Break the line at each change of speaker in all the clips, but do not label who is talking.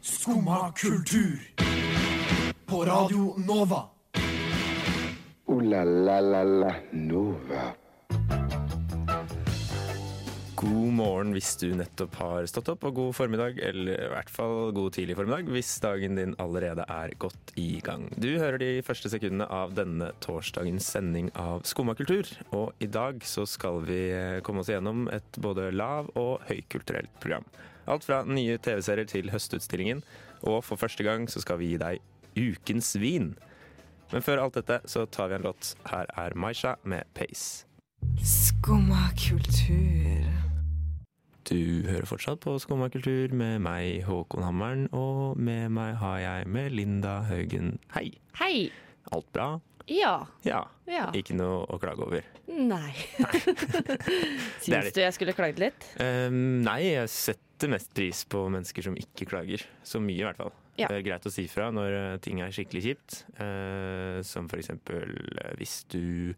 Skumma kultur. På Radio Nova.
Ooh la la la la Nova.
God morgen hvis du nettopp har stått opp, og god formiddag, eller i hvert fall god tidlig formiddag hvis dagen din allerede er godt i gang. Du hører de første sekundene av denne torsdagens sending av Skumma kultur, og i dag så skal vi komme oss igjennom et både lav- og høykulturelt program. Alt fra nye TV-serier til Høstutstillingen, og for første gang så skal vi gi deg Ukens vin. Men før alt dette så tar vi en låt. Her er Maisha med Pace.
Skumma kultur.
Du hører fortsatt på Skumma kultur med meg, Håkon Hammeren, og med meg har jeg med Linda Haugen. Hei.
Hei.
Alt bra?
Ja.
Ja.
ja.
Ikke noe å klage over.
Nei.
er
Syns
litt-
du jeg skulle klaget litt?
Ehm, nei, jeg setter mest pris på mennesker som ikke klager. Så mye, i hvert fall.
Ja.
Det er greit å si fra når eh, ting er skikkelig kjipt. Eh, som for eksempel eh, hvis du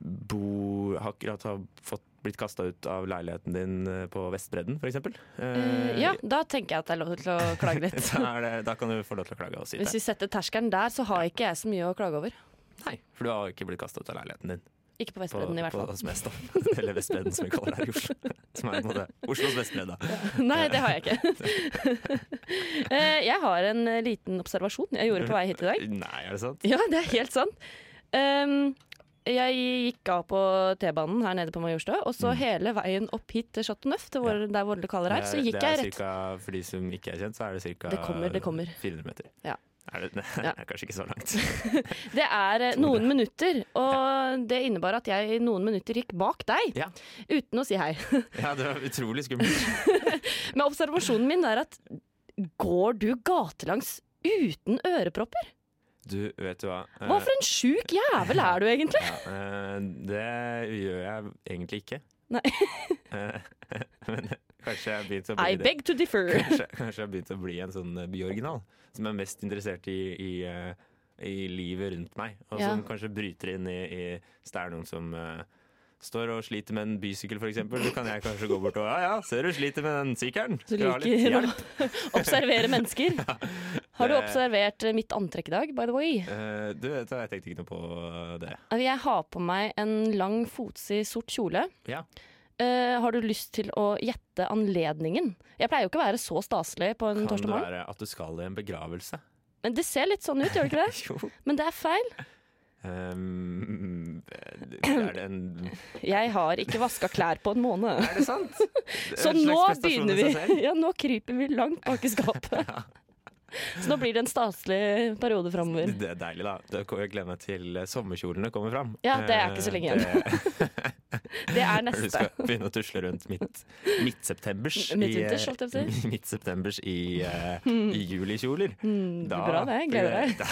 bor har Akkurat har fått, blitt kasta ut av leiligheten din eh, på Vestbredden, for eksempel. Eh,
ja, da tenker jeg at det er lov til å klage litt.
Da, er det, da kan du få lov til å klage og si det.
Hvis vi setter terskelen der, så har ikke jeg så mye å klage over.
Nei, for du har ikke blitt kasta ut av leiligheten din.
Ikke på
På,
Vestbredden, i hvert
på
fall.
Smestad. Eller Vestbredden, som vi kaller det her i Oslo. Som er på en måte Oslos Vestbredd, da.
Nei, det har jeg ikke. Eh, jeg har en eh, liten observasjon jeg gjorde på vei hit i dag.
Nei, er det sant?
Ja, det er helt sant. Ehm, jeg gikk av på T-banen her nede på Majorstua, og så hele veien opp hit til Chateau Neuf, til hvor, der hvor lokaler er, så
Mm. Det er-
gikk
det er
jeg rett
Cirka, for de som ikke er kjent, så er det ca.
Det kommer, det kommer.
400 meter.
Ja.
Er det, nei,
Ja.
det er kanskje ikke så langt.
Det er eh,
Tror
noen minutter, og det innebar at jeg i noen minutter gikk bak deg
Ja.
uten å si hei.
ja, det var utrolig skummelt.
Men observasjonen min er at går du gatelangs uten ørepropper?
Du, vet du hva. Eh,
Hva for en sjuk jævel er du egentlig?
ja, eh, det gjør jeg egentlig ikke.
Nei.
Eh, Men kanskje jeg har begynt å bli
I
det.
beg to differ.
Kanskje, kanskje jeg har begynt å bli en sånn eh, byoriginal som er mest interessert i, i, eh, i livet rundt meg. Og
Ja.
som kanskje bryter inn i, i Hvis det er noen som eh, står og sliter med en bysykkel, f.eks., så kan jeg kanskje gå bort og Ja ja, ser du sliter med den sykkelen.
Du
Skal du ha litt
liker å
hjelp?»
observere mennesker. Har du
det-
observert eh, mitt antrekk i dag, by the way? Altså,
Eh, du, vet du, jeg tenkte ikke noe på eh, det.
Jeg har på meg en lang, fotsid sort kjole.
Ja.
Eh, har du lyst til å gjette anledningen? Jeg pleier jo ikke å være så staselig på en
Kan det
torsdag morgen.
være at du skal i en begravelse?
Men det ser litt sånn ut, gjør det ikke det?
Jo.
Men det er feil.
Ehm, er det en
Jeg har ikke vaska klær på en måned.
Er det sant? Det er
Så
en slags
nå
prestasjon i
begynner
seg selv.
vi. Ja, nå kryper vi langt bak i skapet. Så nå blir det en staselig periode framover.
Det er deilig, da. Da kan Jeg gleder meg til eh, sommerkjolene kommer fram.
Ja, det er ikke så lenge
igjen.
Det er
Du
neste.
skal begynne å tusle rundt midt- midtseptembers i,
Midtvinters, holdt jeg på å
eh, midtseptembers i, eh, i julikjoler.
det blir Hmm, bra det. Jeg gleder meg.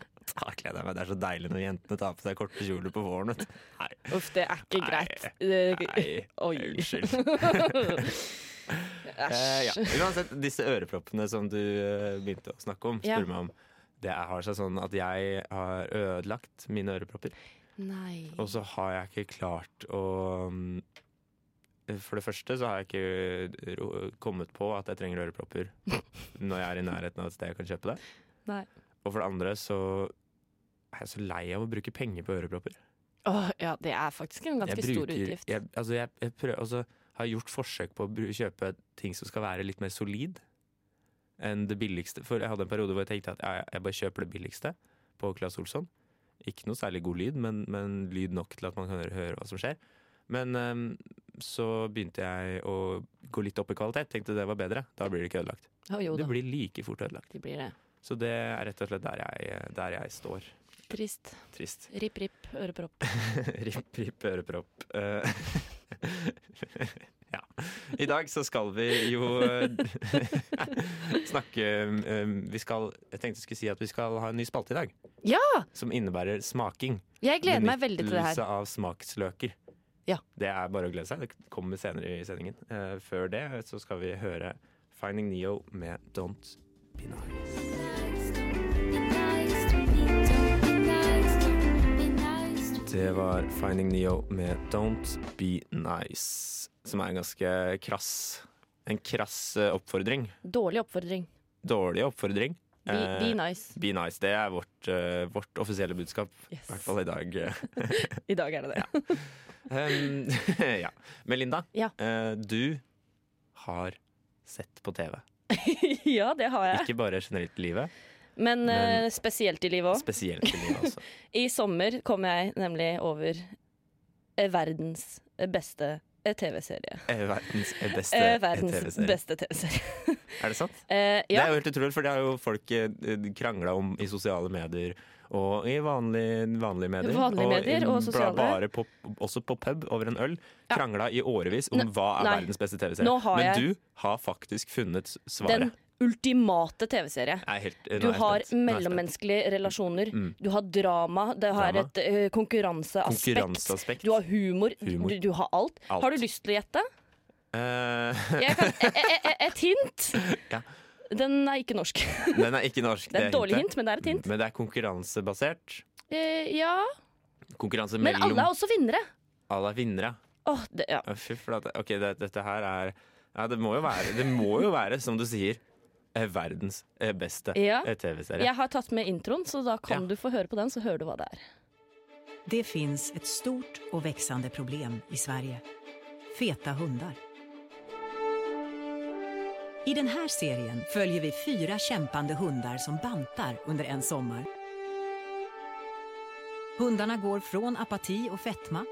Da, Ah, da gleder jeg meg. Det er så deilig når jentene tar på seg korte kjoler på våren. vet du. Nei,
Uff, det er ikke
Nei.
greit. Det-
nei,
Oi.
unnskyld. Eh, ja.
Æsj.
Uansett, disse øreproppene som du eh, begynte å snakke om,
Ja.
spør meg om. Det er- har seg sånn at jeg har ødelagt mine ørepropper.
Nei.
Og så har jeg ikke klart å mm, eh, For det første så har jeg ikke ro- kommet på at jeg trenger ørepropper når jeg er i nærheten av et sted jeg kan kjøpe det.
Nei.
Og for det andre så er jeg så lei av å bruke penger på ørepropper.
Åh, ja, det er faktisk en ganske
Jeg
stor
bruker-
utgift.
Jeg, altså jeg, jeg prøver, altså, har jeg gjort forsøk på å bru- kjøpe ting som skal være litt mer solid enn det billigste. For jeg hadde en periode hvor jeg tenkte at ja, ja, jeg bare kjøper det billigste på Claes Olsson. Ikke noe særlig god lyd, men, men lyd nok til at man kan høre, høre hva som skjer. Men ehm, så begynte jeg å gå litt opp i kvalitet. Tenkte det var bedre. Da blir det ikke ødelagt.
Å, jo
Det
da,
blir like fort ødelagt.
det blir det.
Så det er rett og slett der jeg, der jeg står.
Trist.
Trist.
Ripp, ripp, ørepropp.
Ripp, ripp, ørepropp. Eh, ja. I dag så skal vi jo eh, snakke eh, Vi skal Jeg tenkte jeg skulle si at vi skal ha en ny spalte i dag.
Ja!
Som innebærer smaking.
Jeg gleder meg veldig til det her.
Benyttelse av smaksløker.
Ja.
Det er bare å glede seg. Det kommer senere i sendingen. Eh, før det så skal vi høre Finding Neo med Don't Be Nice. Det var Finding Neo med Don't Be Nice, som er en ganske krass eh, En krass eh, oppfordring.
Dårlig oppfordring.
Dårlig oppfordring.
Be, be
Eh,
nice.
Be nice. Det er vårt, eh, vårt offisielle budskap.
Yes.
I hvert fall i dag.
I dag er det det.
Um, ja. Melinda,
Ja.
eh, du har sett på TV.
ja, det har jeg.
Ikke bare generelt i livet,
Men,
Men-
eh, spesielt i livet òg.
spesielt i livet også.
I sommer kom jeg nemlig over eh, verdens beste eh, TV-serie.
Eh, Verdens beste
Eh, verdens
TV-serie.
beste TV-serie.
Er det sant?
Eh,
Det
ja.
er jo helt utrolig, for det har jo folk eh, krangla om i sosiale medier. Og i vanlige, vanlige medier.
Vanlige medier og
bla-
sosiale.
Bare på, også på pub over en øl. Krangla i årevis om hva er
nei.
verdens beste
Nå
TV-serie.
har
Men
jeg-
du har faktisk funnet svaret.
Den ultimate TV-serie.
Jeg er helt, nå er
Du
jeg
har
spent. Nå er jeg spent.
mellommenneskelige relasjoner, du har drama, det har
Drama.
et eh, konkurranseaspekt.
Konkurranseaspekt.
Du har humor,
Humor.
Du, du har alt.
Alt.
Har du lyst til å gjette?
Eh,
Jeg kan, e- e- e- et hint!
Ja.
Den er ikke norsk.
den er ikke norsk.
Det er et dårlig
hintet.
hint, men det er et hint.
Men det er konkurransebasert.
Eh, ja
Konkurranse
Men
mellom
alle er også vinnere.
alle er vinnere.
Åh, det, ja.
Å, Fy flate. Ok, det, dette her er ja, det, må jo være, det må jo være, som du sier, eh, verdens eh, beste
Ja.
eh, TV-serie.
Jeg har tatt med introen, så da kan
Ja.
du få høre på den, så hører du hva det er.
Det finns ett stort och växande problem i Sverige. Feta hundar. I den här serien följer vi fyra kämpande hundar som bantar under en sommar. Hundarna går från apati och fetma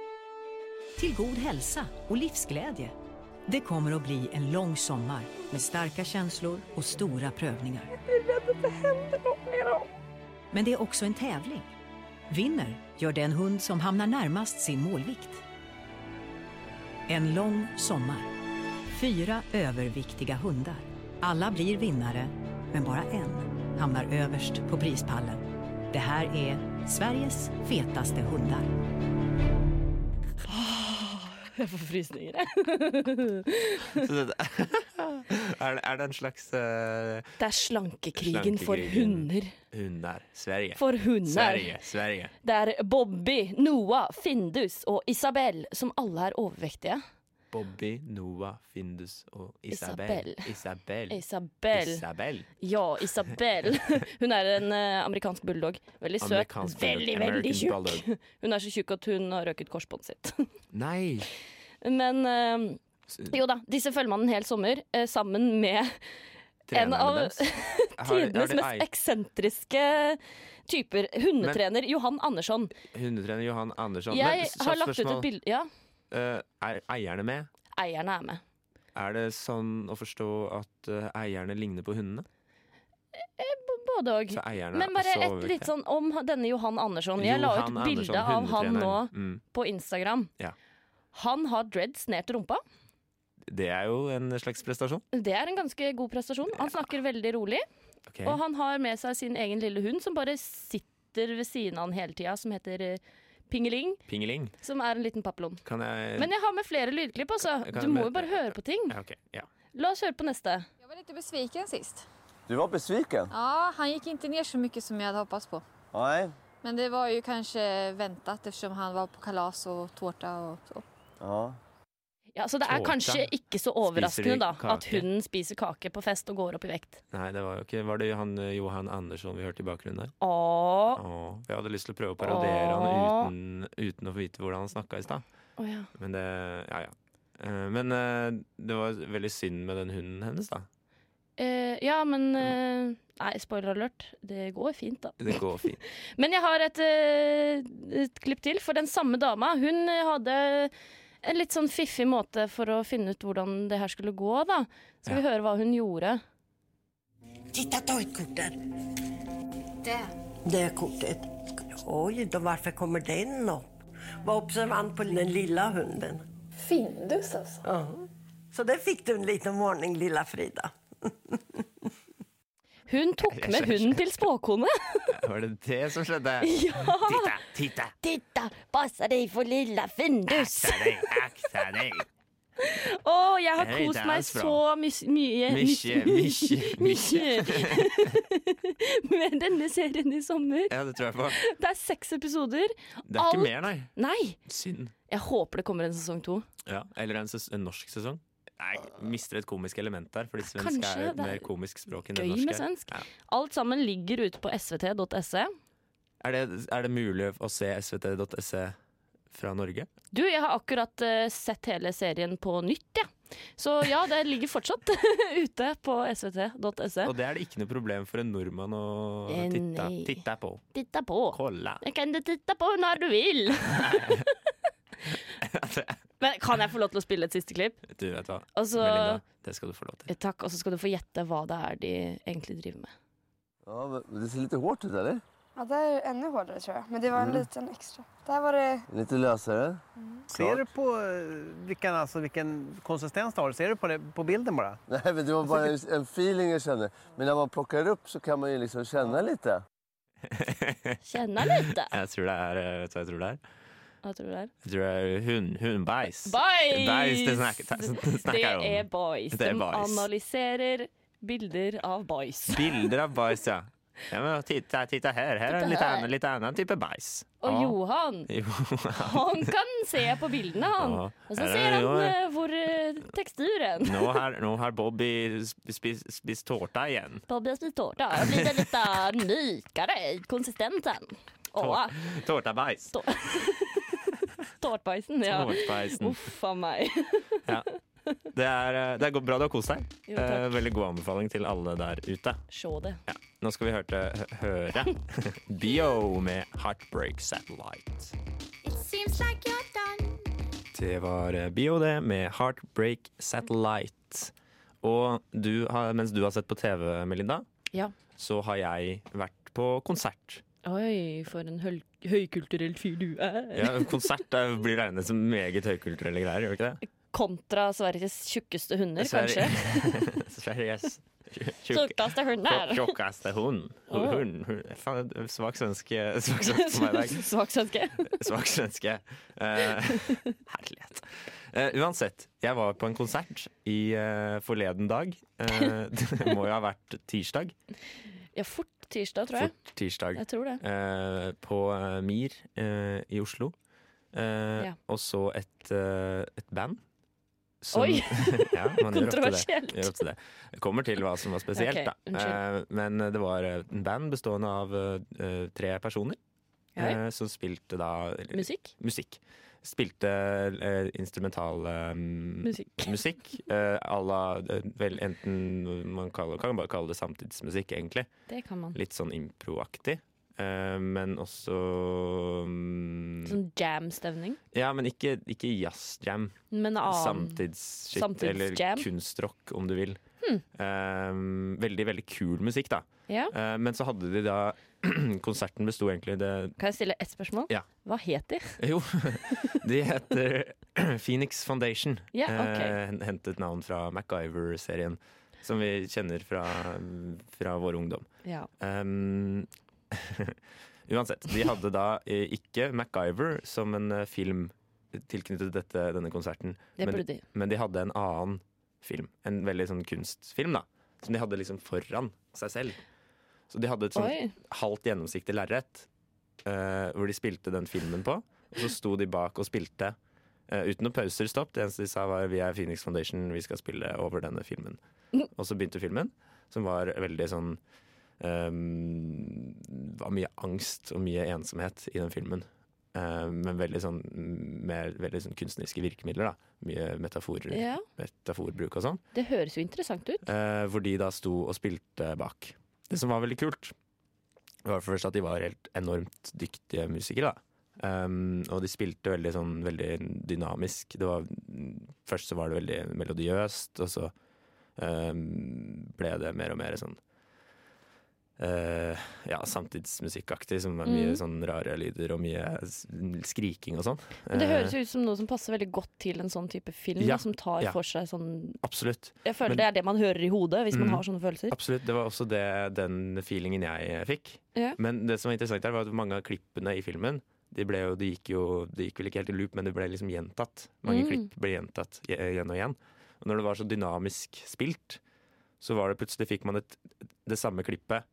till god hälsa och livsglädje. Det kommer att bli en lång sommar med starka känslor och stora prövningar. Men det är också en tävling. Vinner gör den hund som hamnar närmast sin målvikt. En lång sommar. Fyra överviktiga hundar. Alla blir vinnare, men bara en hamnar överst på prispallen. Det här är Sveriges fetaste hundar.
Jeg får frysninger, jeg.
Så det- er, det, er det en slags eh,
Det er slankekrigen for
Slankekrigen.
hunder.
hund der? Sverige.
For hunder.
Sverige. Sverige.
Det er Bobby, Noah, Findus og Isabel som alle er overvektige.
Bobby, Noah, Findus og Isabel. Isabel.
Isabel.
Isabel.
Ja, Isabel. Hun er en eh, amerikansk bulldog. Veldig søt.
Amerikansk bulldog.
Veldig, veldig
American
tjukk.
bulldog.
Hun er så tjukk at hun har røket korsbåndet sitt.
Nei!
Men eh, jo da, disse følger man en hel sommer eh, sammen med en
Trenerne
av
deres. Har- har de
tidenes
ei-
mest eksentriske typer. Hundetrener Johan Andersson.
Hundetrener Johan Andersson. Men
Jeg
s-
har
kjapt
lagt ut et
spørsmål.
bilde Ja,
Eh, er eierne med?
eierne er med.
Er det sånn å forstå at eh, eierne ligner på hundene?
Både òg.
Så eierne
Men
er
bare
også
et
overvektige.
litt sånn om denne Johan Andersson. Jeg la ut
Johan Andersson,
bilde av han nå
hundetreneren. mm.
på Instagram.
Ja.
Han har dreads ned til rumpa.
Det er jo en slags prestasjon.
Det er en ganske god prestasjon. Han snakker veldig rolig,
Ok.
og han har med seg sin egen lille hund som bare sitter ved siden av han hele tida, som heter eh, Pingeling,
Pingeling.
som er en liten papillon.
Kan jeg
Men jeg har med flere lydklipp, altså.
Kan- kan-
Du må jo
men-
bare høre på ting.
ja, ok, ja.
La oss høre på neste.
Jag var lite besviken sist.
Du var besviken?
Ja, han gick inte ner så mycket som jag hade hoppats på.
Nej.
Men det var ju kanske väntat eftersom han var på kalas och tårta och så.
Ja.
Ja, så det er
Tårta.
kanskje ikke så
Spiser
overraskende
de
da at
kake?
hunden spiser kake på fest og går opp i vekt.
Nei, det var jo ikke Var det han eh, Johan Andersson vi hørte i bakgrunnen der?
Åh.
Åh, jeg hadde lyst til å prøve å parodiere
Åh.
han uten, uten å få vite hvordan han snakka i stad.
Å ja.
Men det Ja, ja. Eh, Men eh, det var veldig synd med den hunden hennes, da.
Eh, ja, men eh, Nei, spoiler alert. Det går fint, da.
Det går fint.
Men jeg har et, eh, et klipp til, for den samme dama Hun eh, hadde en litt sånn fiffig måte for å finne ut hvordan det her skulle gå. da Skal vi høre hva hun gjorde?
Titta, ta ett kort där. Det kortet. Oj, då varför kommer den upp? Var observant på den lilla hunden.
Findus alltså.
Ja. Så där fick du en liten varning, lilla Frida.
Hun tok med hunden til spåkone!
Var det det som skjedde? Titta, titta,
Titta, passa deg for lilla Findus!
akta deg, akta deg.
Å, jeg har
Hei, det
kost
er
meg
bra.
så mys- mye
Mykje, mykje, mykje.
med denne serien i sommer.
Ja, det tror jeg på.
Det er seks episoder.
Det er
Alt-
ikke mer, nei.
Nei!
Synd.
Jeg håper det kommer en sesong to.
Ja, eller en, ses en norsk sesong. Nei, mister et komisk element der, fordi svensk
Kanskje
er jo et
det er
mer komisk språk enn det
gøy
norske.
med svensk.
Ja.
Alt sammen ligger ute på svt.se.
Er, det, er det mulig å se svt.se e fra Norge?
Du, jeg har akkurat eh, sett hele serien på nytt, jeg. Så ja, det ligger fortsatt ute på svt.se.
Og det er det ikke noe problem for en nordmann å
Eh,
titte,
nei.
titte på.
Titta på.
Kolla.
Det kan du titta på når du vil. Men kan jeg få lov til å spille et siste klipp? Altså-
Du vet hva,
Og så,
Melinda, det skal du få lov til.
Eh, takk, og så skal du få gjette hva det er de egentlig driver med.
Ja, men det ser lite hårt ut, eller?
Ja, det är ännu hårdare tror jag. Men det var en liten extra. Där var det...
Lite lösare.
Mm. Ser du på eh, vilken, alltså, vilken konsistens det har? Ser du på, det, på bilden bara?
Nej, men det var bara en en feeling jag kände. Men när man plockar upp så kan man ju liksom känna lite.
Kjenner litt.
Jeg tror det er eh, Vet du hva jeg tror det er?
Hva tror du det er?
Jeg tror det er hund, hundbeis.
Boys!
Beis, det snakker- snakker
Det
jeg om.
er boys.
Det er
De
boys.
analyserer bilder av boys.
Bilder av bajs, ja. ja men, titta, titta her, her er en litt annen, litt annen type bajs.
Og
Ja.
Johan,
Jo.
han kan se på bildene, han.
Ja.
Og
Er
så
det-
ser han
jo,
eh,
ja.
hvor eh, teksturen
Nå har, nå har Bobby sp- spist spist tårta igjen.
Bobby har spist tårta. Og blitt en lite mykere i konsistensen. Og
Tårtabajs.
tårtbeisen, ja.
Tårtbeisen.
Uff a meg.
Ja. Det er, eh, det er go- bra du har kost deg.
Jo, takk.
Eh, Veldig god anbefaling til alle der ute.
Se det.
Ja. Nå skal vi hørte, hø- høre Bio med Heartbreak Satellite. Det var eh, Bio, det, med Heartbreak Satellite. Og du har, mens du har sett på TV, Melinda,
Ja.
så har jeg vært på konsert.
Oi, for en høl- høykulturell fyr du er.
Ja, konsert eh, blir regnet som meget høykulturelle greier, gjør det ikke det?
Kontra Sveriges tjukkeste hunder, kanskje.
Sveriges tjukke-
Tjukkeste hunder.
Tjukkeste hund.
Åh.
Hund. hund. Faen, det er svak svenske svak svenske på meg i dag.
Svak svenske.
Svak svenske. Eh, herlighet. Eh, uansett, jeg var på en konsert i eh, forleden dag. Eh, det må jo ha vært tirsdag.
Ja, fort tirsdag, tror jeg.
Fort tirsdag.
Jeg tror det.
Eh, på eh, Mir eh, i Oslo. Eh,
Ja.
Og så et, eh, et band. som-
Oi!
ja, man gjør ofte det.
Kontroversielt.
Gjør ofte det. Jeg kommer til hva som var spesielt,
Ok,
da. Eh, men det var eh, en band bestående av eh, tre personer
Oi.
eh, som spilte da
Musikk?
musikk. Spilte eh, instrumental eh,
Musikk.
musikk eh, à la eh, Vel, enten man kaller, kan bare kalle det samtidsmusikk, egentlig.
Det kan man.
Litt sånn improaktig. Eh, men også mm,
Sånn jam-stevning.
Ja, men ikke, ikke jazzjam.
Men annen
Samtidsshit.
Ah, samtidsjam. Hmm.
Eller kunstrock, om du vil. Eh, veldig, veldig kul musikk, da.
Ja.
Eh, men så hadde de da Konserten besto egentlig det
Kan jeg stille ett spørsmål?
Ja.
Hva het de?
Jo, de heter Phoenix Foundation.
Ja, ok.
Eh, hentet navn fra MacGyver-serien, som vi kjenner fra, fra vår ungdom.
Ja.
Um, uansett, de hadde da eh, ikke MacGyver som en eh, film tilknyttet dette, denne konserten,
Det
Men-
burde de.
men de hadde en annen film. En veldig sånn kunstfilm, da. Som de hadde liksom foran seg selv. Så de hadde et sånn
Oi.
halvt gjennomsiktig lerret eh, hvor de spilte den filmen på. Og så sto de bak og spilte eh, uten noen pauser, stopp. Det eneste de sa var 'Vi er Phoenix Foundation, vi skal spille over denne filmen'. Og så begynte filmen, som var veldig sånn eh, var mye angst og mye ensomhet i den filmen. Eh, men veldig sånn, med veldig sånn kunstneriske virkemidler. da Mye metaforer,
Ja.
metaforbruk og sånn.
Det høres jo interessant ut.
Eh, hvor de da sto og spilte bak. Det som var veldig kult, var først at de var helt enormt dyktige musikere. da. Um, og de spilte veldig sånn veldig dynamisk. Det var, først så var det veldig melodiøst, og så um, ble det mer og mer sånn eh, ja, samtidsmusikkaktig, som er mye
Mm.
sånn rare lyder og mye s- skriking og sånn.
Men det
Eh,
høres jo ut som noe som passer veldig godt til en sånn type film.
Ja,
da, Som tar
ja.
for seg sånn
Eh, absolutt.
Jeg føler
Men-
det er det man hører i hodet hvis man
Mm.
har sånne følelser.
Absolutt, Det var også det, den feelingen jeg fikk.
Ja.
Men det som var interessant her var at mange av klippene i filmen de, ble jo, de gikk jo de gikk vel ikke helt i loop, men det ble liksom gjentatt. Mange
Mm.
klipp ble gjentatt i- igjen og igjen. Og når det var så dynamisk spilt, så var det plutselig fikk man et, det samme klippet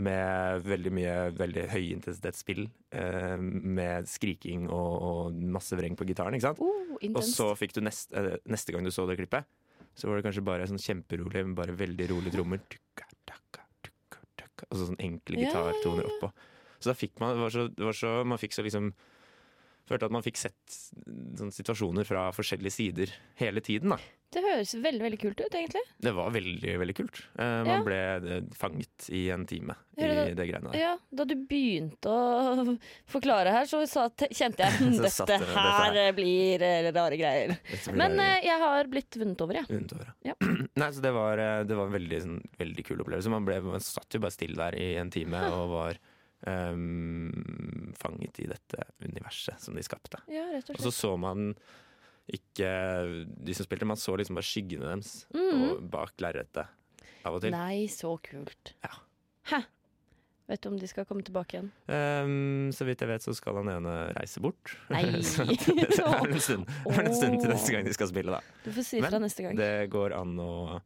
med veldig mye veldig høyintensitetsspill. Eh, med skriking og, og masse vreng på gitaren, ikke sant?
Oh,
Og
intenst.
så fikk du neste, eh, neste gang du så det klippet, Så var det kanskje bare sånn kjemperolig, men bare veldig rolig trommer. Tukka, takka, tukka, takka. Og så sånn enkle
Ja, ja, ja.
gitartoner oppå. Så da fikk man det var så, det var så, Man fikk så liksom Følte at man fikk sett sånne situasjoner fra forskjellige sider hele tiden, da.
Det høres veldig veldig kult ut, egentlig.
Det var veldig, veldig kult. Eh,
Ja.
man ble eh, fanget i en time i
Hører du-
det greiene der.
Ja, da du begynte å forklare her, så sa, te- kjente jeg
Så
at
satt
dette
det- dette her.
her blir eh, rare greier.
Dette blir
Men
rare
eh, jeg har blitt vunnet over, jeg.
Vunnet over,
Ja.
Nei, så det var, eh, det var en veldig, sånn, veldig kul opplevelse. Man, ble, man satt jo bare stille der i en time og var ehm, fanget i dette universet som de skapte.
Ja, rett og
så
slett.
så man ikke de som spilte, man så liksom bare skyggene deres
Mhm.
og bak lerretet av og til.
Nei, så kult. Hæ? Vet du om de skal komme tilbake igjen?
Ehm, så vidt jeg vet, så skal han ene reise bort.
Nei.
så det det er vel en stund, det er vel en stund til neste gang de skal spille, da.
Du får si fra
Men
neste gang.
det går an å,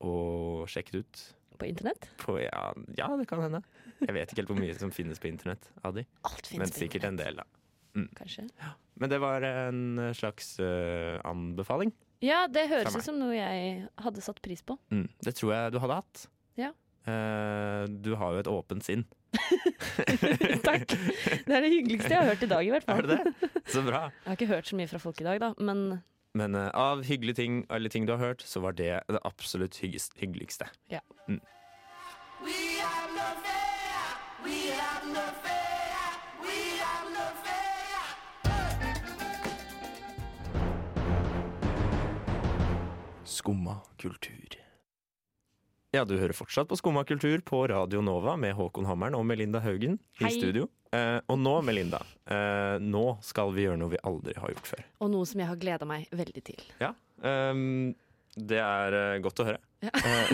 å sjekke det ut.
På internett?
På, ja, ja, det kan hende. Jeg vet ikke helt hvor mye som finnes på internett av de.
Alt
Men
finnes på
sikkert en del, da. Mm.
Kanskje?
Men det var en eh, slags øh, anbefaling.
Ja, det
Fra
høres
meg.
ut som noe jeg hadde satt pris på.
Mm. Det tror jeg du hadde hatt.
Ja.
Eh, du har jo et åpent sinn.
Det er det hyggeligste jeg har hørt i dag, i hvert fall.
Så bra.
Jeg har ikke hørt så mye fra folk i dag, da, men
Men eh, av hyggelige ting eller ting du har hørt, så var det det absolutt hyggest, hyggeligste.
Ja.
Mm. Skumma kultur. Ja, du hører fortsatt på Skumma kultur på Radio Nova med Håkon Hammeren og Melinda Haugen
Hei.
i studio. Eh, og nå, Melinda, eh, nå skal vi gjøre noe vi aldri har gjort før.
Og noe som jeg har gleda meg veldig til.
Ja, ehm, det er eh, godt å høre. Eh,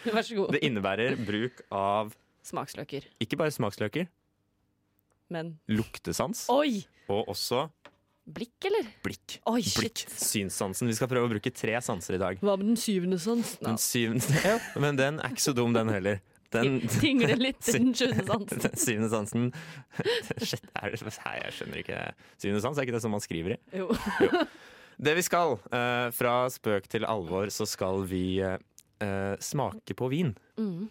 Vær så god.
det innebærer bruk av
Smaksløker.
ikke bare smaksløker,
Men
luktesans
Oi!
og også
blikk, eller?
blikk.
Oi, shit.
blikk. Synssansen. Vi skal prøve å bruke tre sanser i dag.
Hva med den syvende sans?
Den syvende, ja, men den er ikke så dum, den heller. Den,
Tingler litt i den sjuende sansen.
den syvende sansen Shit, er det, nei, jeg skjønner ikke det. Syvende sans, er ikke det som man skriver i?
Jo.
Det vi skal, eh, fra spøk til alvor, så skal vi eh, eh, smake på vin.
Mm.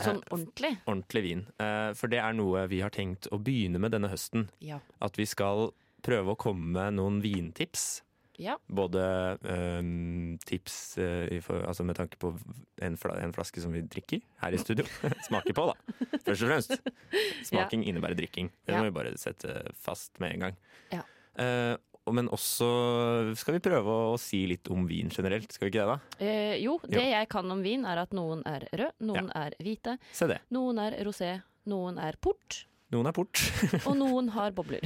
Sånn ordentlig?
Ordentlig vin. Eh, for det er noe vi har tenkt å begynne med denne høsten.
Ja.
At vi skal prøve å komme med noen vintips.
Ja.
Både eh, tips eh, i for, altså med tanke på en, fla, en flaske som vi drikker her i studio. Smaker på, da. Først og fremst. Smaking innebærer drikking. Det
Ja.
må vi bare sette fast med en gang.
Ja.
Eh, og- men også skal vi prøve å si litt om vin generelt. Skal vi ikke det, da?
Eh, jo, det
Jo.
jeg kan om vin, er at noen er rød, noen er hvite,
Se det.
noen er rosé, noen er port,
Noen er port.
og noen har bobler.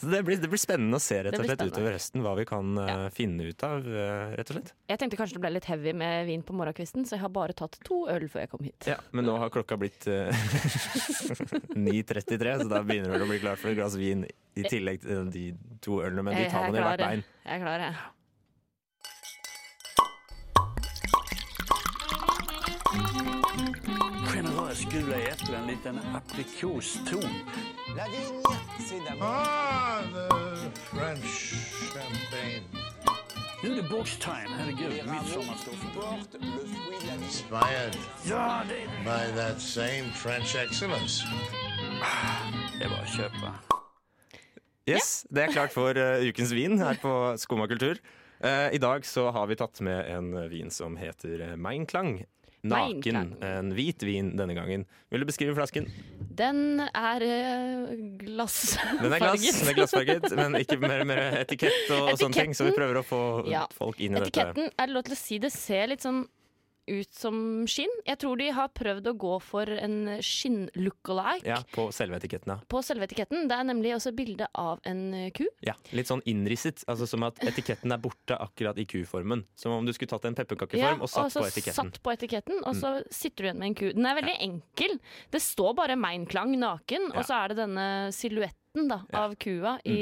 Så det blir, det blir spennende å se rett
Det
og
blir
slett
spennende.
utover høsten hva vi kan eh, finne ut av, eh, rett og slett.
Jeg tenkte kanskje det ble litt heavy med vin på morgenkvisten, så jeg har bare tatt to øl før jeg kom hit.
Ja, men nå har klokka blitt eh, 9.33, så da begynner du å bli klar for et glass vin i tillegg til de to ølene, men de
Jeg-
tar
jeg
man i
er
hvert
klar,
bein.
Jeg er klar, jeg.
Generøst gula eplen, en liten aprikoston.
Ah, the French champagne.
Nå er det box time. Herregud, midsommarstoffen.
Inspired by that same French excellence.
Det er bare å kjøpe.
Yes, det er klart for eh, ukens vin her på Skumma kultur. Eh, I dag så har vi tatt med en eh, vin som heter eh, Meinklang. Naken.
Meinklang.
En hvit vin denne gangen. Vil du beskrive flasken?
Den er eh, glassfarget.
Den er glass, den er glassfarget, men ikke mer, mer etikett og sånne ting, så vi prøver å få
Ja.
folk inn i
Etiketten, er det lov til å si det, ser litt sånn ut som skinn. Jeg tror de har prøvd å gå for en skinn-look-alike
dette. Ja, på selve etiketten, ja.
på selve etiketten. Det er nemlig også bilde av en eh, ku.
Ja, Litt sånn innrisset. Altså Som at etiketten er borte akkurat i kuformen. Som om du skulle tatt en
Ja,
pepperkakeform og satt
så
på etiketten. Mm.
satt på etiketten, og så sitter du igjen med en ku. Den er veldig enkel. Det står bare Meinklang naken,
Ja.
og så er det denne silhuetten da,
Ja. Mm.
av kua i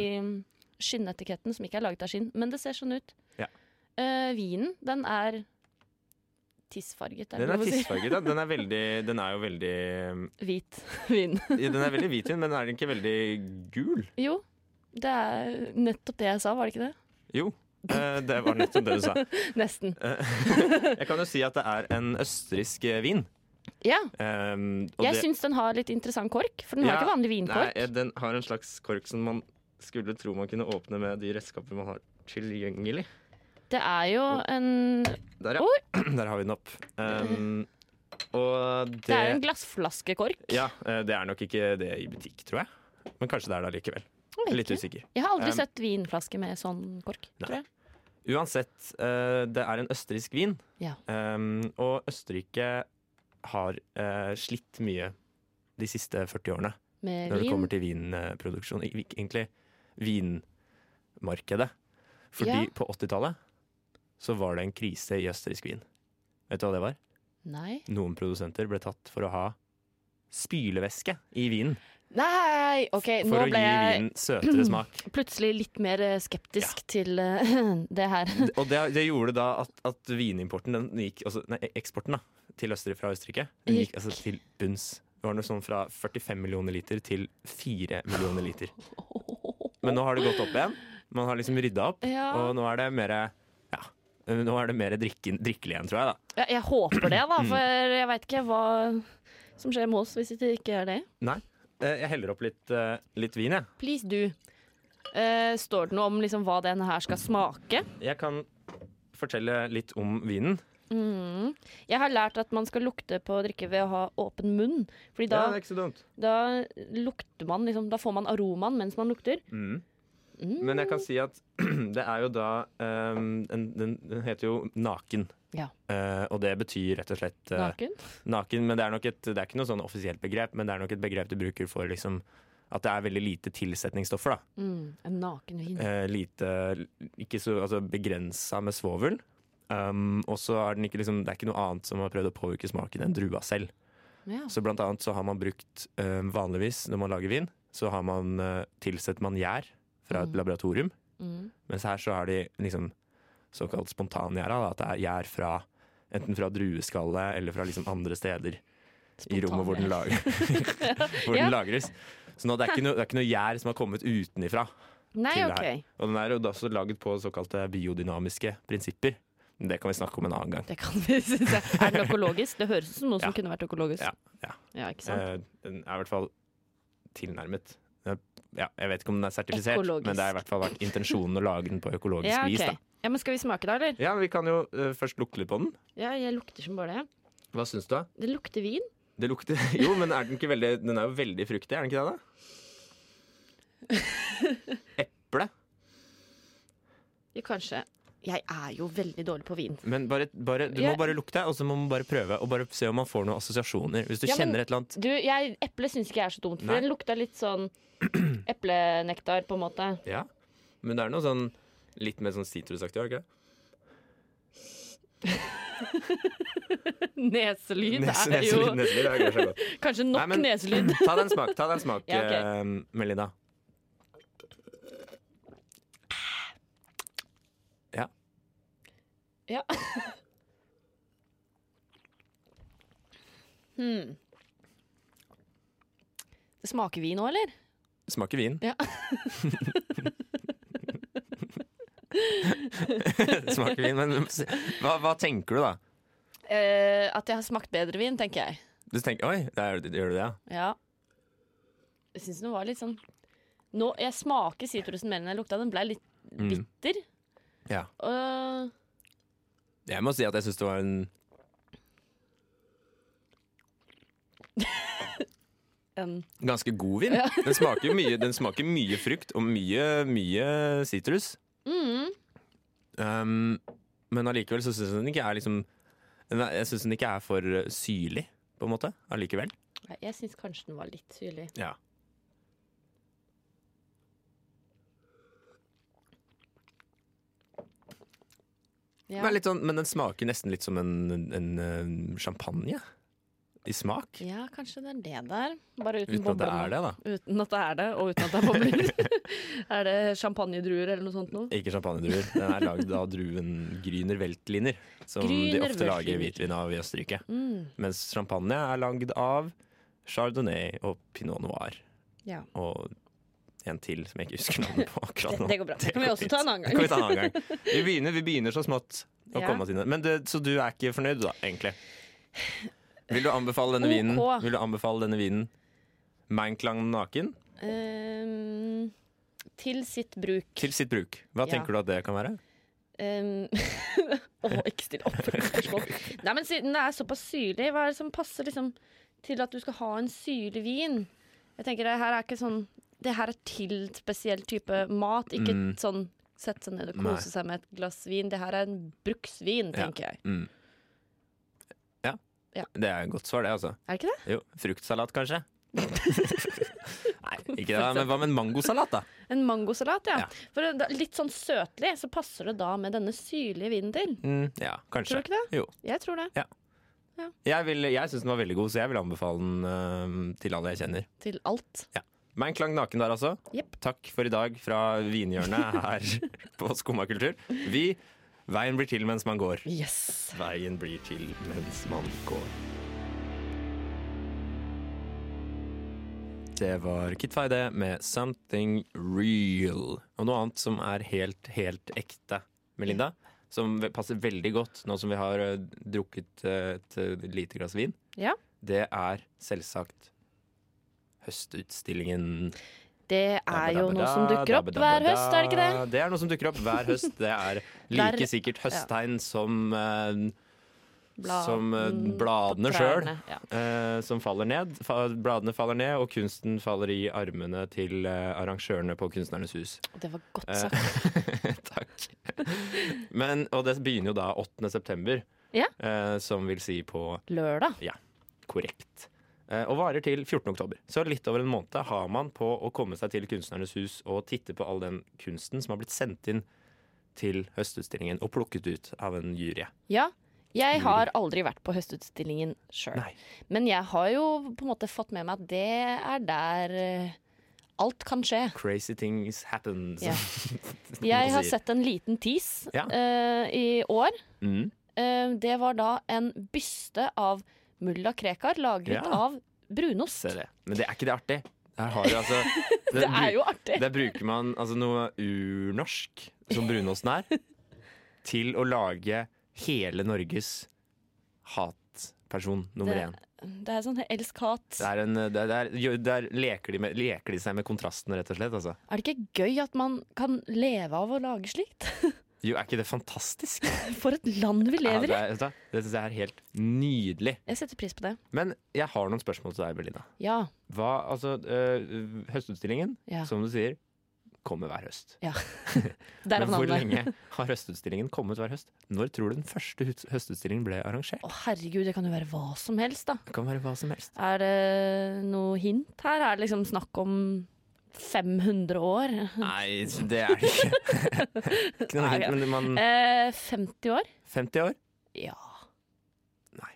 skinnetiketten, som ikke er laget av skinn, men det ser sånn ut.
Ja.
Eh, vinen, den er tissfarget.
Den
det
er
lov å si?
tissfarget, ja. Den er, veldig, den er jo veldig
Hvit vin.
ja, Den er veldig hvit, men den er ikke veldig gul.
Jo, det er nettopp det jeg sa, var det ikke det?
Jo. Eh, Det var nettopp det du sa.
Nesten.
Eh, Jeg kan jo si at det er en østerriksk eh, vin.
Ja.
Ehm, og
Jeg
det-
syns den har litt interessant kork, for den har
Ja,
ikke vanlig vinkork.
Nei, eh, den har en slags kork som man skulle tro man kunne åpne med de redskaper man har tilgjengelig.
Det er jo en
Der, ja. Der har vi den opp. Ehm, og det,
Det er jo en glassflaskekork.
Ja, eh, det er nok ikke det i butikk, tror jeg. Men kanskje det er det allikevel.
Jeg vet
Litt
ikke.
usikker.
Jeg har aldri
Ehm,
sett vinflaske med sånn kork,
Nei.
tror jeg.
Uansett, eh, det er en østerriksk vin.
Ja.
Ehm, og Østerrike har eh, slitt mye de siste 40 årene når
Med Eh, vin?
det kommer til vinproduksjon. Ik- ik- Egentlig vinmarkedet. Fordi
Ja.
på 80-tallet så var det en krise i østerriksk vin. Vet du hva det var?
Nei.
Noen produsenter ble tatt for å ha spylevæske i vinen.
Nei, ok, nå
For å
ble
gi
jeg
vinen søtere smak.
plutselig litt mer eh, skeptisk til eh, det her.
Og det, det gjorde da at, at vinimporten den gikk, altså, nei, eksporten da, til Østerrike fra Østerrike den gikk altså, til bunns. Det var noe sånn fra 45 millioner liter til 4 millioner liter. Men nå har det gått opp igjen. Man har liksom rydda opp,
Ja.
og nå er det mer ja, nå er det mer drikken, drikkelig igjen, tror jeg. da.
Jeg, jeg håper det, da,
Mm.
for jeg veit ikke hva som skjer med oss hvis det ikke er det.
Nei, eh, jeg heller opp litt, eh, litt vin, jeg.
Please do. Eh, står det noe om liksom, hva den her skal smake?
Jeg kan fortelle litt om vinen.
Mm. Jeg har lært at man skal lukte på drikke ved å ha åpen munn. Fordi da,
Ja, det er ikke så dumt.
da lukter man liksom, Da får man aromaen mens man lukter.
Mm. Men jeg kan si at det er jo da eh, en, den, den heter jo Naken.
Ja.
Eh, og det betyr rett og slett eh,
Naken?
naken, men det er nok et, det er ikke noe sånn offisielt begrep, men det er nok et begrep du bruker for liksom, at det er veldig lite tilsetningsstoffer. Da.
Mm, en naken vin.
Eh, lite, ikke så altså, begrensa med svovel. Um, og så er den ikke liksom, det er ikke noe annet som har prøvd å påvirke smaken enn drua selv.
Ja.
Så blant annet så har man brukt eh, vanligvis når man lager vin, så har man eh, tilsett man gjær fra et laboratorium.
Mm.
Mens her så er de liksom såkalt spontangjæra. da, At det er gjær fra enten fra drueskallet eller fra liksom andre steder i rommet hvor den, lag hvor
Ja.
den lagres. Så nå, det, er ikke noe, det er ikke noe gjær som har kommet utenifra.
Nei,
til det her.
ok.
Og den er jo da også laget på såkalte biodynamiske prinsipper. Men det kan vi snakke om en annen gang.
Det kan vi synes jeg. Er den økologisk? Det høres ut som noe som kunne vært økologisk.
Ja, ja.
Ja, ikke sant?
Eh, den er i hvert fall tilnærmet. Eh, Ja, jeg vet ikke om den er sertifisert,
Økologisk.
men det har i hvert fall vært intensjonen å lage den på økologisk
ja,
vis.
ok.
Da.
ja, men Skal vi smake, da, eller?
Ja, Vi kan jo eh, først lukte litt på den.
Ja, jeg lukter som bare det.
Hva syns du? da?
Det lukter vin.
Det lukter Jo, men er den, ikke veldig, den er jo veldig fruktig, er den ikke det? da? Eple.
Ja, kanskje. Jeg er jo veldig dårlig på vin.
Men bare, bare, du må
Jeg-
bare lukte, og så må man bare prøve og bare se om man får noen assosiasjoner. Hvis du
Ja, men
kjenner et eller annet
Du, jeg, Eple syns ikke jeg er så dumt, for
Nei.
den lukta litt sånn eplenektar, på en måte.
Ja. Men det er noe sånn litt mer sånn sitrusaktig, er det ikke?
Neselyd
Nes-
er jo
neselyd- neselyd er kanskje godt.
Kanskje nok
Nei, men-
neselyd.
Ta deg en smak, ta deg en smak
Ja, ok.
eh, Melinda. Ja.
Ja. hmm. Det smaker vin nå, eller?
Smaker vin.
Ja.
Smaker vin, men s- hva, hva tenker du da?
Eh, at jeg har smakt bedre vin, tenker jeg.
Du tenker, Oi, der, gjør du det, ja?
Ja. Jeg syns den var litt sånn nå, Jeg smaker sitrusen mer enn jeg lukta. Den ble litt
Mm.
bitter.
Ja.
Og
Jeg må si at jeg syns det var en
en
ganske god vin.
Ja.
Den, smaker jo mye, den smaker mye frukt og mye, mye sitrus.
mm.
Um, men allikevel så syns jeg den ikke er liksom den er- Jeg syns den ikke er for uh, syrlig, på en måte. Allikevel.
Nei, Jeg syns kanskje den var litt syrlig.
Ja.
Ja.
Den er litt sånn, men den smaker nesten litt som en, en, uh, champagne i smak.
Ja, kanskje det er det der. Bare uten,
Uten at det
boblene.
er det, da.
Uten at det er det, og uten at det er bobler. er det champagnedruer eller noe sånt noe?
Ikke champagnedruer. Den er lagd av druen Grüner Veltliner, som de
Grüner
ofte lager
Veltliner.
hvitvin av i Østerrike.
Mm.
Mens champagne er lagd av chardonnay og pinot noir.
Ja.
Og en til som jeg ikke husker navnet på akkurat nå.
Det- det går bra. Det kan vi også ta en annen gang.
Det kan vi ta en annen gang. Vi begynner, vi begynner så smått å
Ja.
komme oss inn. i det. Men det, så du er ikke fornøyd, da, egentlig? Vil du anbefale denne
Ok.
vinen? Vil du anbefale denne vinen Manklang naken
Ehm, til sitt bruk.
til sitt bruk? Hva
Ja.
tenker du at det kan være?
Ehm, Åh, ikke still opp for spørsmål. Nei, men siden det er såpass syrlig, hva er det som passer liksom, til at du skal ha en syrlig vin? Jeg tenker Det her er ikke sånn Det her er til spesiell type mat, ikke
Mm.
sånn sette seg ned og
Nei.
kose seg med et glass vin. Det her er en bruksvin, tenker jeg.
Mm. Ja.
Ja.
Det er et godt svar, det, altså.
Er det ikke det?
Jo. Fruktsalat, kanskje? Nei, ikke det. Men hva med en mangosalat, da?
En mangosalat, ja. For det er litt sånn søtlig, så passer det da med denne syrlige vinen til.
Mm, ja, kanskje.
Tror du ikke det?
Jo.
Jeg tror det.
Ja.
Ja.
Jeg, vil- jeg syns den var veldig god, så jeg vil anbefale den øhm, til alle jeg kjenner.
Til alt.
Meg en klang naken der, altså.
Jepp.
Takk for i dag fra vinhjørnet her på Skummakultur. Vi Veien blir til mens man går.
Yes.
Veien blir til mens man går. Det var Kit Feide med 'Something Real'. Og noe annet som er helt, helt ekte, Melinda. Som ve- passer veldig godt nå som vi har ø, drukket ø, et ø, lite glass vin.
Ja.
Det er selvsagt høstutstillingen.
Det er jo
Dabba,
noe som
dabba,
dukker opp
dabba, dabba,
hver høst, er det ikke det?
da. Det er noe som dukker opp hver høst. Det er
Der-
like sikkert høsttegn som eh,
Blad-
som eh,
mm, på
bladene sjøl,
trærne, ja.
eh, som faller ned. Fa bladene faller ned, og kunsten faller i armene til eh, arrangørene på Kunstnernes hus.
Det var godt
Eh,
sagt.
Takk. Men, og det begynner jo da 8. september,
Ja.
eh, som vil si på
Lørdag.
Ja, korrekt. Eh, og varer til 14. oktober. Så litt over en måned har man på å komme seg til Kunstnernes hus og titte på all den kunsten som har blitt sendt inn til høstutstillingen og plukket ut av en jury.
Ja. Jeg
Mm.
har aldri vært på Høstutstillingen sjøl. Men jeg har jo på en måte fått med meg at det er der eh, alt kan skje.
Crazy things happen. som
Ja.
man
Jeg har
sier.
sett en liten tis
Ja.
eh, i år.
Mm.
Eh, det var da en byste av mulla Krekar lagret
Ja.
av brunost.
Se det. Men det er ikke det artig. Her har du altså
Det er
bru-
jo artig.
Der bruker man altså, noe urnorsk, som brunosten er, til å lage hele Norges hatperson nummer
det,
én.
det er sånn elsk-hat.
Det er en, det er, det er, jo, der leker de, med, leker de seg med kontrasten, rett og slett. Altså.
Er det ikke gøy at man kan leve av å lage slikt?
Jo, er ikke det fantastisk?
For et land vi
Ja,
lever
det
i!
er- vet du hva? det syns jeg er helt nydelig.
Jeg setter pris på det.
Men jeg har noen spørsmål til deg, Berlina.
Ja.
Hva, altså, øh, høstutstillingen,
Ja.
som du sier, kommer hver høst.
ja.
Men
Derav
hvor
navnet.
lenge har høstutstillingen kommet hver høst? Når tror du den første hus- høstutstillingen ble arrangert?
Å, herregud, det kan jo være hva som helst, da.
Det kan være hva som helst.
Er det noe hint her? Er det liksom snakk om 500 år?
Nei, det er det ikke. ikke noe hint, men man
Eh, 50 år?
50 år?
Ja. Nei.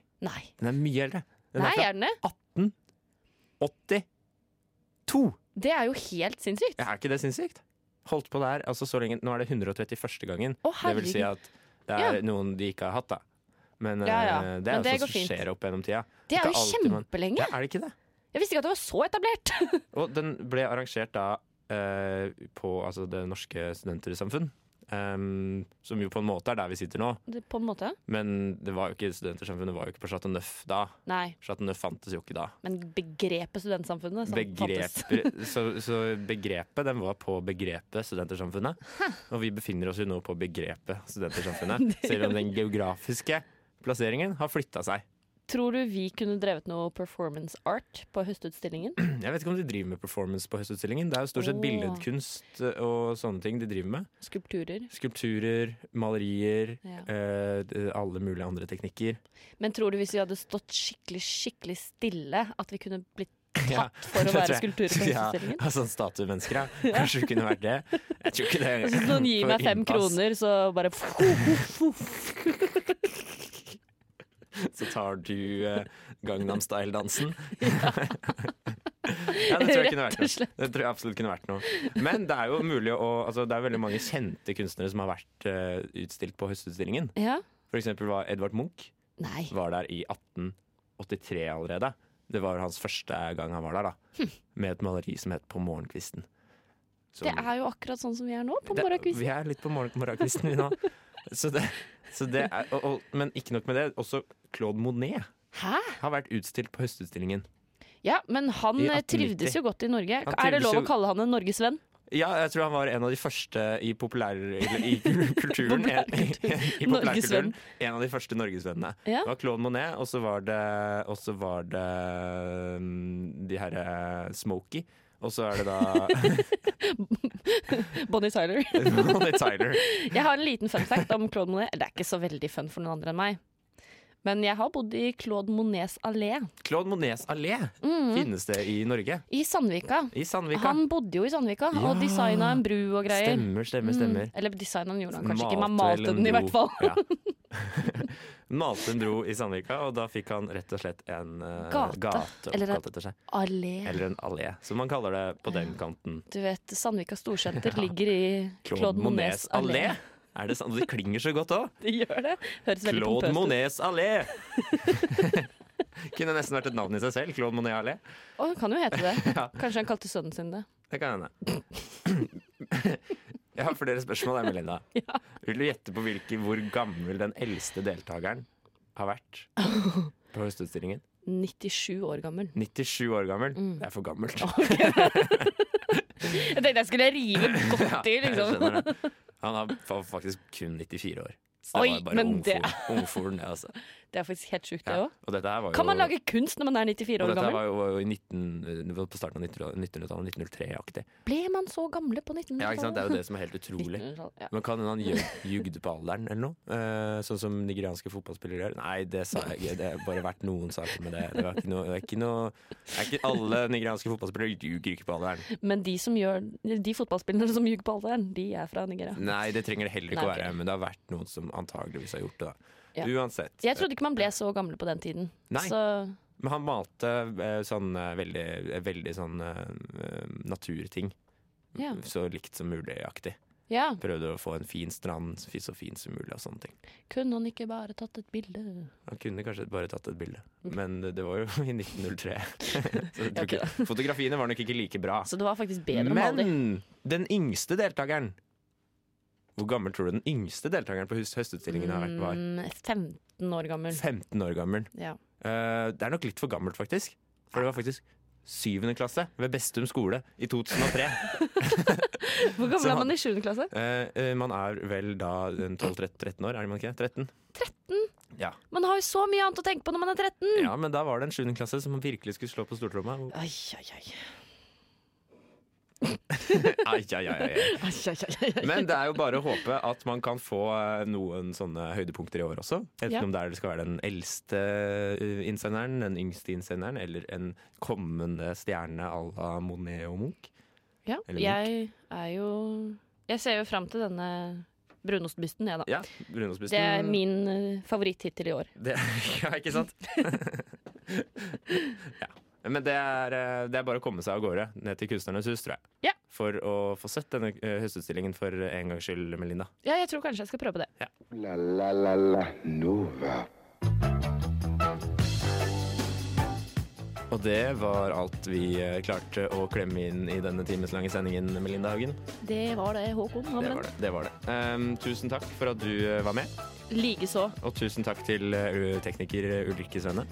Den er mye eldre. Den
Nei,
er
er den det?
fra 82!
Det er jo helt sinnssykt.
Er ikke det sinnssykt? Holdt på der, altså så lenge Nå er det 131. gangen. det vil si
herregud.
at det er
Ja.
noen de ikke har hatt, da. Men
Ja, ja.
eh, det er
Men det
jo
går
sånt som
fint.
skjer opp gjennom tida.
Det er
ikke
jo
alltid man-
kjempelenge.
Ja, er det ikke det?
Jeg visste ikke at det var så etablert.
Og den ble arrangert da eh, på altså, Det Norske Studentersamfunn. em, som jo på en måte er der vi sitter nå.
Det- På en måte.
Men det var jo ikke Studentersamfunnet var jo ikke på Chateau Neuf da.
Nei.
Chateau Neuf fantes jo ikke da.
Men begrepet studentsamfunnet som fantes.
Begrep, så, så begrepet den var på begrepet Studentersamfunnet. Og vi befinner oss jo nå på begrepet Studentersamfunnet.
Det
Selv
gjør
om den geografiske plasseringen har flytta seg.
Tror du vi kunne drevet noe performance art på Høstutstillingen?
Jeg vet ikke om de driver med performance på Høstutstillingen. Det er jo stort sett
Åh.
billedkunst eh, og sånne ting de driver med.
Skulpturer?
Skulpturer, malerier,
Ja.
eh, d- alle mulige andre teknikker.
Men tror du hvis vi hadde stått skikkelig skikkelig stille, at vi kunne blitt tatt
Ja,
for å
det tror
være
jeg.
skulpturer på
Ja,
Høstutstillingen?
altså statuemennesker, ja.
Ja.
Kanskje det kunne vært det. Jeg tror ikke det.
Hvis noen
får
gir Sånn, meg fem
innpass,
kroner, så bare
Så tar du eh, Gangnam Style-dansen. Ja, det tror jeg kunne
Rett
vært
og
noe. Det tror jeg absolutt kunne vært noe. Men det er jo mulig å altså, Det er veldig mange kjente kunstnere som har vært eh, utstilt på Høstutstillingen.
Ja.
For eksempel var Edvard Munch
Nei.
var der i 1883 allerede. Det var hans første gang han var der, da. Med et maleri som het 'På morgenkvisten'.
Hm. Det er jo akkurat sånn som vi er nå, på
Det-
morgenkvisten.
Vi er litt på morgen- morgenkvisten vi nå. Så det, så det er, og, og, men ikke nok med det. Også Claude Monet
Hæ?
har vært utstilt på Høstutstillingen.
Ja, men han
I
eh,
1890.
trivdes jo godt i Norge.
Han
Er det
trivdes
lov
jo-
å kalle han en norgesvenn?
Ja, jeg tror han var en av de første i populær... eller I kulturen. en, i populærkulturen.
Norgesvenn.
En av de første norgesvennene.
Ja.
Det var Claude Monet, og så var det, og så var det mm, de herre Smokey. Og så er det da
Bonnie Tyler.
Bonnie Tyler.
Jeg har en liten fun fact om Claude Monet. Det er ikke så veldig fun for noen andre enn meg. Men jeg har bodd i Claude Monets allé
Claude Monets allé
Mhm.
finnes det i Norge.
i Sandvika.
I Sandvika.
Han bodde jo i Sandvika og
Ja.
designa en bru og greier.
Stemmer, stemmer, stemmer.
Mm. Eller designa den gjorde han kanskje ikke,
Malte
men han malte
vel en
den i
bro.
hvert fall.
Ja. Malte en bro i Sandvika, og da fikk han rett og slett en eh,
Gate.
gate,
Eller en
oppkalt etter seg.
Allé.
Eller en allé, som man kaller det på den kanten.
Du vet, Sandvika storsenter
Ja.
ligger i
Claude, Monets allé. Er det sant? Og det klinger så godt òg!
Det gjør det. Høres veldig
Claude
pompøst ut.
Monets allé! Kunne nesten vært et navn i seg selv. Claude Monet allé.
Å, han kan jo hete det.
Ja.
Kanskje han kalte sønnen sin det.
Det kan hende. Jeg har flere spørsmål, jeg, Melinda. Vil du gjette på hvilke, hvor gammel den eldste deltakeren har vært på Høstutstillingen?
97 år gammel.
97 år gammel.
Mm.
Det er for gammelt.
Jeg tenkte jeg skulle rive godt i,
Jeg
liksom.
skjønner det. Han har fa- faktisk kun 94 år. Så
Oi,
det var bare
men det-
ungforen- ungforen, det, altså.
Det er faktisk helt sjukt, det
Ja.
òg.
Og dette her var jo,
Kan man lage kunst når man er 94
og
år
dette her
gammel?
var jo, var jo i 19, det var på starten av 1900-tallet, 1903-aktig.
Ble man så gamle på
Ja, ikke sant? Det er jo
1900-tallet?
det som er helt utrolig.
1900-tallet, ja.
Men kan hende han ljug- jugde på alderen eller noe? Eh, sånn som nigerianske fotballspillere gjør? Nei, det sa jeg ikke. Det har bare vært noen saker med det. Det var ikke noe, det er ikke noe det er ikke Alle nigerianske fotballspillere ljuger ikke på alderen.
Men de, som gjør, de fotballspillerne som ljuger på alderen, de er fra Nigeria.
Nei, det trenger det heller ikke å
Nei,
være, men det har vært noen som antageligvis har gjort det. da
Ja.
Uansett.
Jeg trodde ikke man ble så gamle på den tiden.
Nei.
Så
Men han malte eh, sånn eh, veldig, eh, veldig sånn eh, naturting.
Ja.
Så likt som mulig-aktig.
ja,
Prøvde å få en fin strand så fi- så fin som mulig og sånne ting.
kunne han ikke bare tatt et bilde?
Han kunne kanskje bare tatt et bilde, men det var jo i 1903. så jeg
Ja,
tror
ok,
ikke, fotografiene var nok ikke like bra.
Så det var faktisk bedre enn
Ah. men
aldri.
den yngste deltakeren Hvor gammel tror du den yngste deltakeren på høst- høstutstillingen har vært? Var?
Mm, 15 år gammel.
15 år gammel.
Ja.
Eh, det er nok litt for gammelt, faktisk. For det var faktisk syvende klasse ved Bestum skole i 2003. Så
Hvor gammel er
han-
man i 7. klasse?
Eh, eh, man er vel da 12-13 år, er man ikke det? 13? 13? Ja.
Man har jo så mye annet å tenke på når man er 13!
ja, men da var det en 7. klasse som virkelig skulle slå på stortromma.
Ai, ai, ai.
Ai, ai, ai, ai.
Ai, ai, ai, ai.
Men det er jo bare å håpe at man kan få eh, noen sånne høydepunkter i år også. Enten
Ja.
om det er- det skal være den eldste eh, innsenderen, den yngste innsenderen, eller en kommende stjerne à la Monet og Munch.
Ja,
Eller
jeg er jo Jeg ser jo fram til denne brunostbysten, jeg, da.
Ja, brunostbysten.
Det er min eh, favoritt hittil i år.
Det, ja, ikke sant? ja. Men det er, eh, det er bare å komme seg av gårde ned til Kunstnernes hus, tror jeg.
Ja.
For å få sett denne eh, høstutstillingen for en gangs skyld, Melinda.
Ja, jeg tror kanskje jeg skal prøve det.
La la la la Nova.
Og det var alt vi eh, klarte å klemme inn i denne timeslange sendingen, Melinda Haugen.
Det var det, Håkon.
Det var det. det, var det. Ehm, tusen takk for at du eh, var med,
Likeså.
og tusen takk til eh, tekniker Ulrikke Svenne.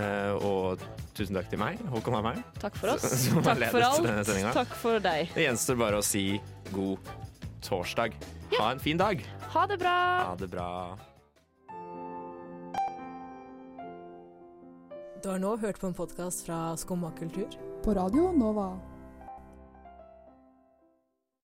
Eh, og tusen takk til meg, Håkon Hammer.
Takk for oss.
Som har
Takk
ledet
for
denne
alt.
sendingen.
Takk for deg.
Det gjenstår bare å si god torsdag. Ha en fin dag.
Ha det bra.
Ha det bra.
Du har nå hørt på en podkast fra Skumma kultur.
På radio Nova.